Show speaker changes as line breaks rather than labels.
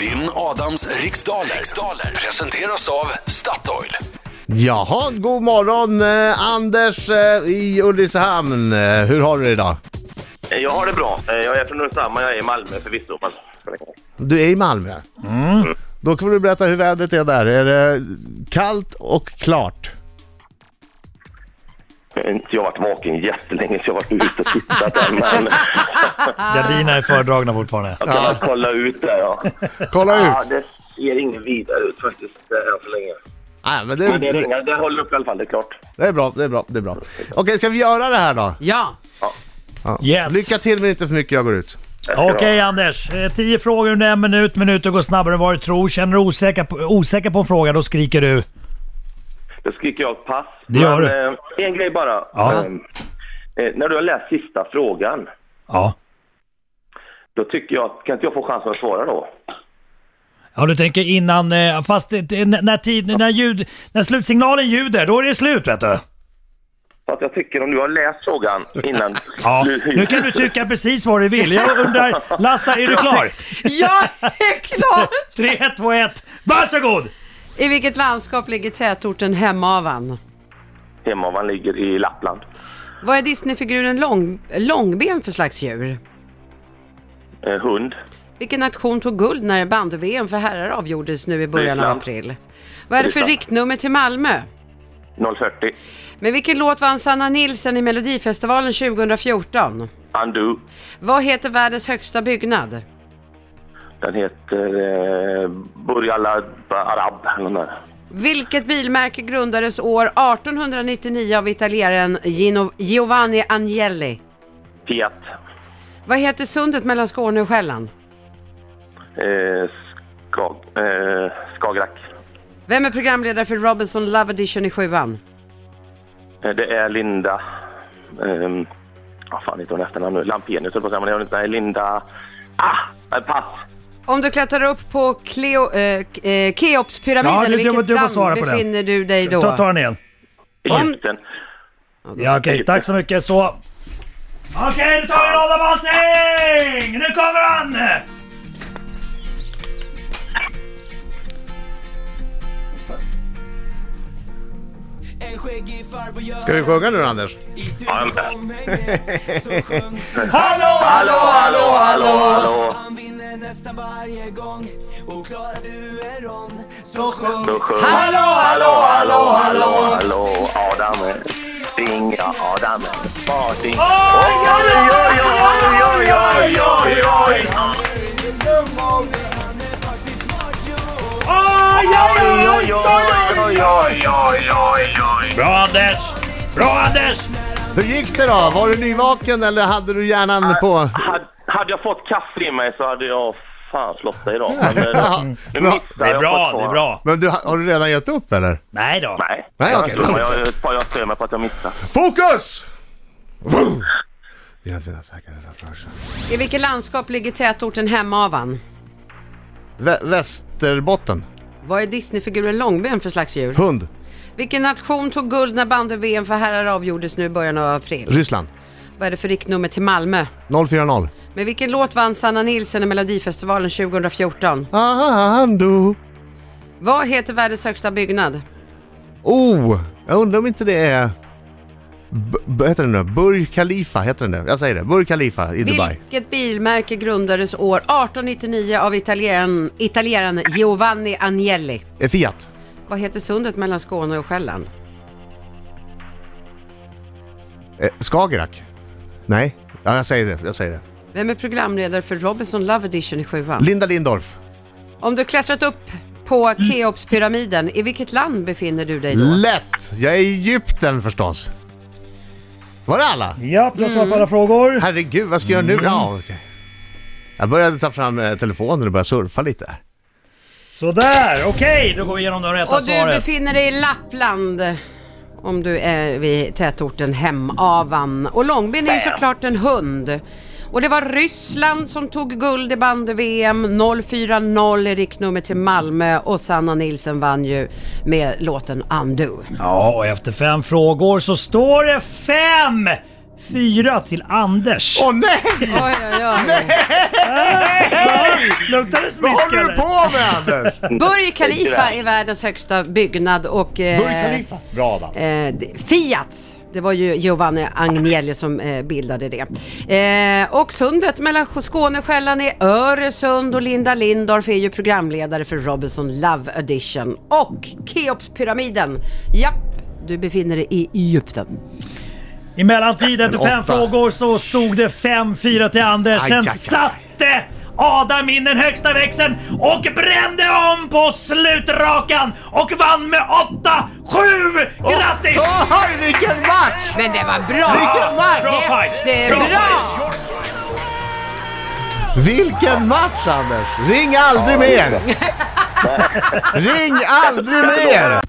Vinn Adams riksdaler. riksdaler presenteras av Statoil.
Jaha, god morgon eh, Anders eh, i Ulricehamn. Eh, hur har du det idag?
Eh, Jag har det bra. Eh, Jag är från Ulricehamn men jag är i Malmö förvisso. Men...
Du är i Malmö. Då kan du berätta hur vädret är där. Är det kallt och klart?
Eh, Inte jag har varit vaken jättelänge så jag har varit ute och tittat än. Men
Gardinerna är fördragna fortfarande.
jag kan väl kolla ut där ja.
Kolla
ja
ut!
det ser ingen vidare ut faktiskt eh, än så länge.
Nej, men
Men det
det,
regnar. Det håller upp i alla fall, det är klart.
det är bra, det är bra, det är bra. Okej, ska vi göra det här då?
Ja.
Ja.
Yes.
Lycka till men inte för mycket, jag går ut.
Okej Anders, Eh, tio frågor under en minut. Minuter går snabbare än vad du tror. Känner du osäker på, osäker på en fråga, då skriker du.
Då skriker jag pass.
Det gör
men, eh, en grej bara.
Ja.
Eh, eh, när du har läst sista frågan,
Ja.
då tycker jag, kan inte jag få chansen att svara då?
Ja, du tänker innan... eh, Fast det- det- när, tid, när, ljud, när slutsignalen ljuder, då är det slut vet du.
För att jag tycker om du har läst frågan innan...
Ja. Nu kan du tycka precis vad du vill. Jag undrar, Lasse, är du klar?
Jag är klar!
3, 2, 1, varsågod!
I vilket landskap ligger tätorten Hemavan?
Hemavan ligger i Lappland.
Vad är Disneyfiguren lång, Långben för slags djur?
Eh, hund.
Vilken nation tog guld när bandy-VM för herrar avgjordes nu i början av
Ryssland.
april? Vad är det för
Ryssland.
riktnummer till Malmö?
040.
Med vilken låt vann Sanna Nilsson i Melodifestivalen 2014?
Undo.
Vad heter världens högsta byggnad?
Den heter eh, Burjala Arab. eller nåt där.
Vilket bilmärke grundades år 1899 av italienaren Gino- Giovanni Agnelli?
Fiat.
Vad heter sundet mellan Skåne och Själland?
Eh, Skag, eh, Skagerrak.
Vem är programledare för Robinson Love Edition i sjuan?
Eh, det är Linda... Eh, vad fan heter hon i efternamn nu? Lampenius höll på att säga, men det är hon inte. Nej, Linda... Ah! eh, Pass!
Om du klättrar upp på Cleo, eh, K- eh, Keopspyramiden,
Ja, nu-
i
du-
vilket
du får svara
land
på den.
befinner du dig då?
Ta, ta den igen.
Om-
Egypten.
Ja, okej. Tack så mycket. Så... Okej, nu tar vi en Adam Alsing! Nu kommer han!
Ska vi sjunga nu Anders?
Ja, men-
Hallå!
Hallå, hallå, hallå, hallå!
Han vinner nästan varje gång och klarar du en rond så
Då sjöng- Hallå, hallå, hallå, hallå, hallå! Adam, eh, ring ja, Adam. Party.
Oj, oj, oj, oj, oj, oj, oj, oj, oj! Oj, oj, oj, Bra Anders! Bra Anders!
Hur gick det då? Var du nyvaken eller hade du hjärnan på?
Hade, hade jag fått kaffe i mig så hade jag fan slått dig idag. Men, eh, nu
Bra.
missade
Det är
jag
bra,
på två.
det är bra.
Men du, har du redan gett upp eller?
Nej då.
Nej,
Nej,
jag,
okej.
tror- men jag, jag, jag stör mig på att jag missade.
Fokus!
I vilket landskap ligger tätorten Hemavan?
Vä- Västerbotten.
Vad är Disneyfiguren Långben för slags djur?
Hund.
Vilken nation tog guld när bandy-VM för herrar avgjordes nu i början av april?
Ryssland.
Vad är det för riktnummer till Malmö?
040.
Med vilken låt vann Sanna Nilsson i Melodifestivalen 2014?
Ando.
Vad heter världens högsta byggnad?
Oh, jag undrar om inte det är... B- b- heter den nu? Burj Khalifa heter den nu. Jag säger det. Burj Khalifa i Dubai.
Vilket bilmärke grundades år 1899 av italien, italienaren Giovanni Agnelli?
Eh, Fiat.
Vad heter sundet mellan Skåne och Själland?
Eh, Skagerrak. Nej. Ja, jag säger det. Jag säger det.
Vem är programledare för Robinson Love Edition i sjuan?
Linda Lindorff.
Om du klättrat upp på Keopspyramiden, i vilket land befinner du dig då?
Lätt! Jag är i Egypten förstås. Var det alla?
Ja, jag svarar på alla frågor.
Herregud, vad ska jag göra nu? Ja, okej. Jag började ta fram eh, telefonen och börja surfa lite.
Sådär, okej. Då går vi igenom de rätta
Och du
svaren.
befinner dig i Lappland. Om du är vid tätorten Hemavan. Och Långben är ju såklart en hund. Och det var Ryssland som tog guld i bandy-VM. 040 är riktnummer till Malmö och Sanna Nilsson vann ju med låten Undo.
Ja, och efter fem frågor så står det fem! 4 till Anders.
Åh nej!
Oj, oj, oj.
Luktar det
Vad
smisk
håller du
eller?
på med Anders?
Burj Khalifa är världens högsta byggnad och... eh,
Burj Khalifa. Bra Adam.
Eh, d- Fiat. Det var ju Giovanni Agnelli som eh, bildade det. Eh, och sundet mellan Sk- Skåne och Själland är Öresund och Linda Lindorff är ju programledare för Robinson Love Edition. Och Keopspyramiden. Japp, du befinner dig i Egypten.
I mellantid efter
Men
fem
åtta.
frågor så stod det 5-4 till Anders.
Aj,
Sen
aj, aj, aj.
satte Adam in den högsta växeln och brände om på slutrakan och vann med 8-7! Grattis!
Oj, vilken match!
Men det var bra!
Vilken match!
Bra fight!
Jättebra!
fight!
Vilken match Anders! Ring aldrig mer! Ring aldrig mer!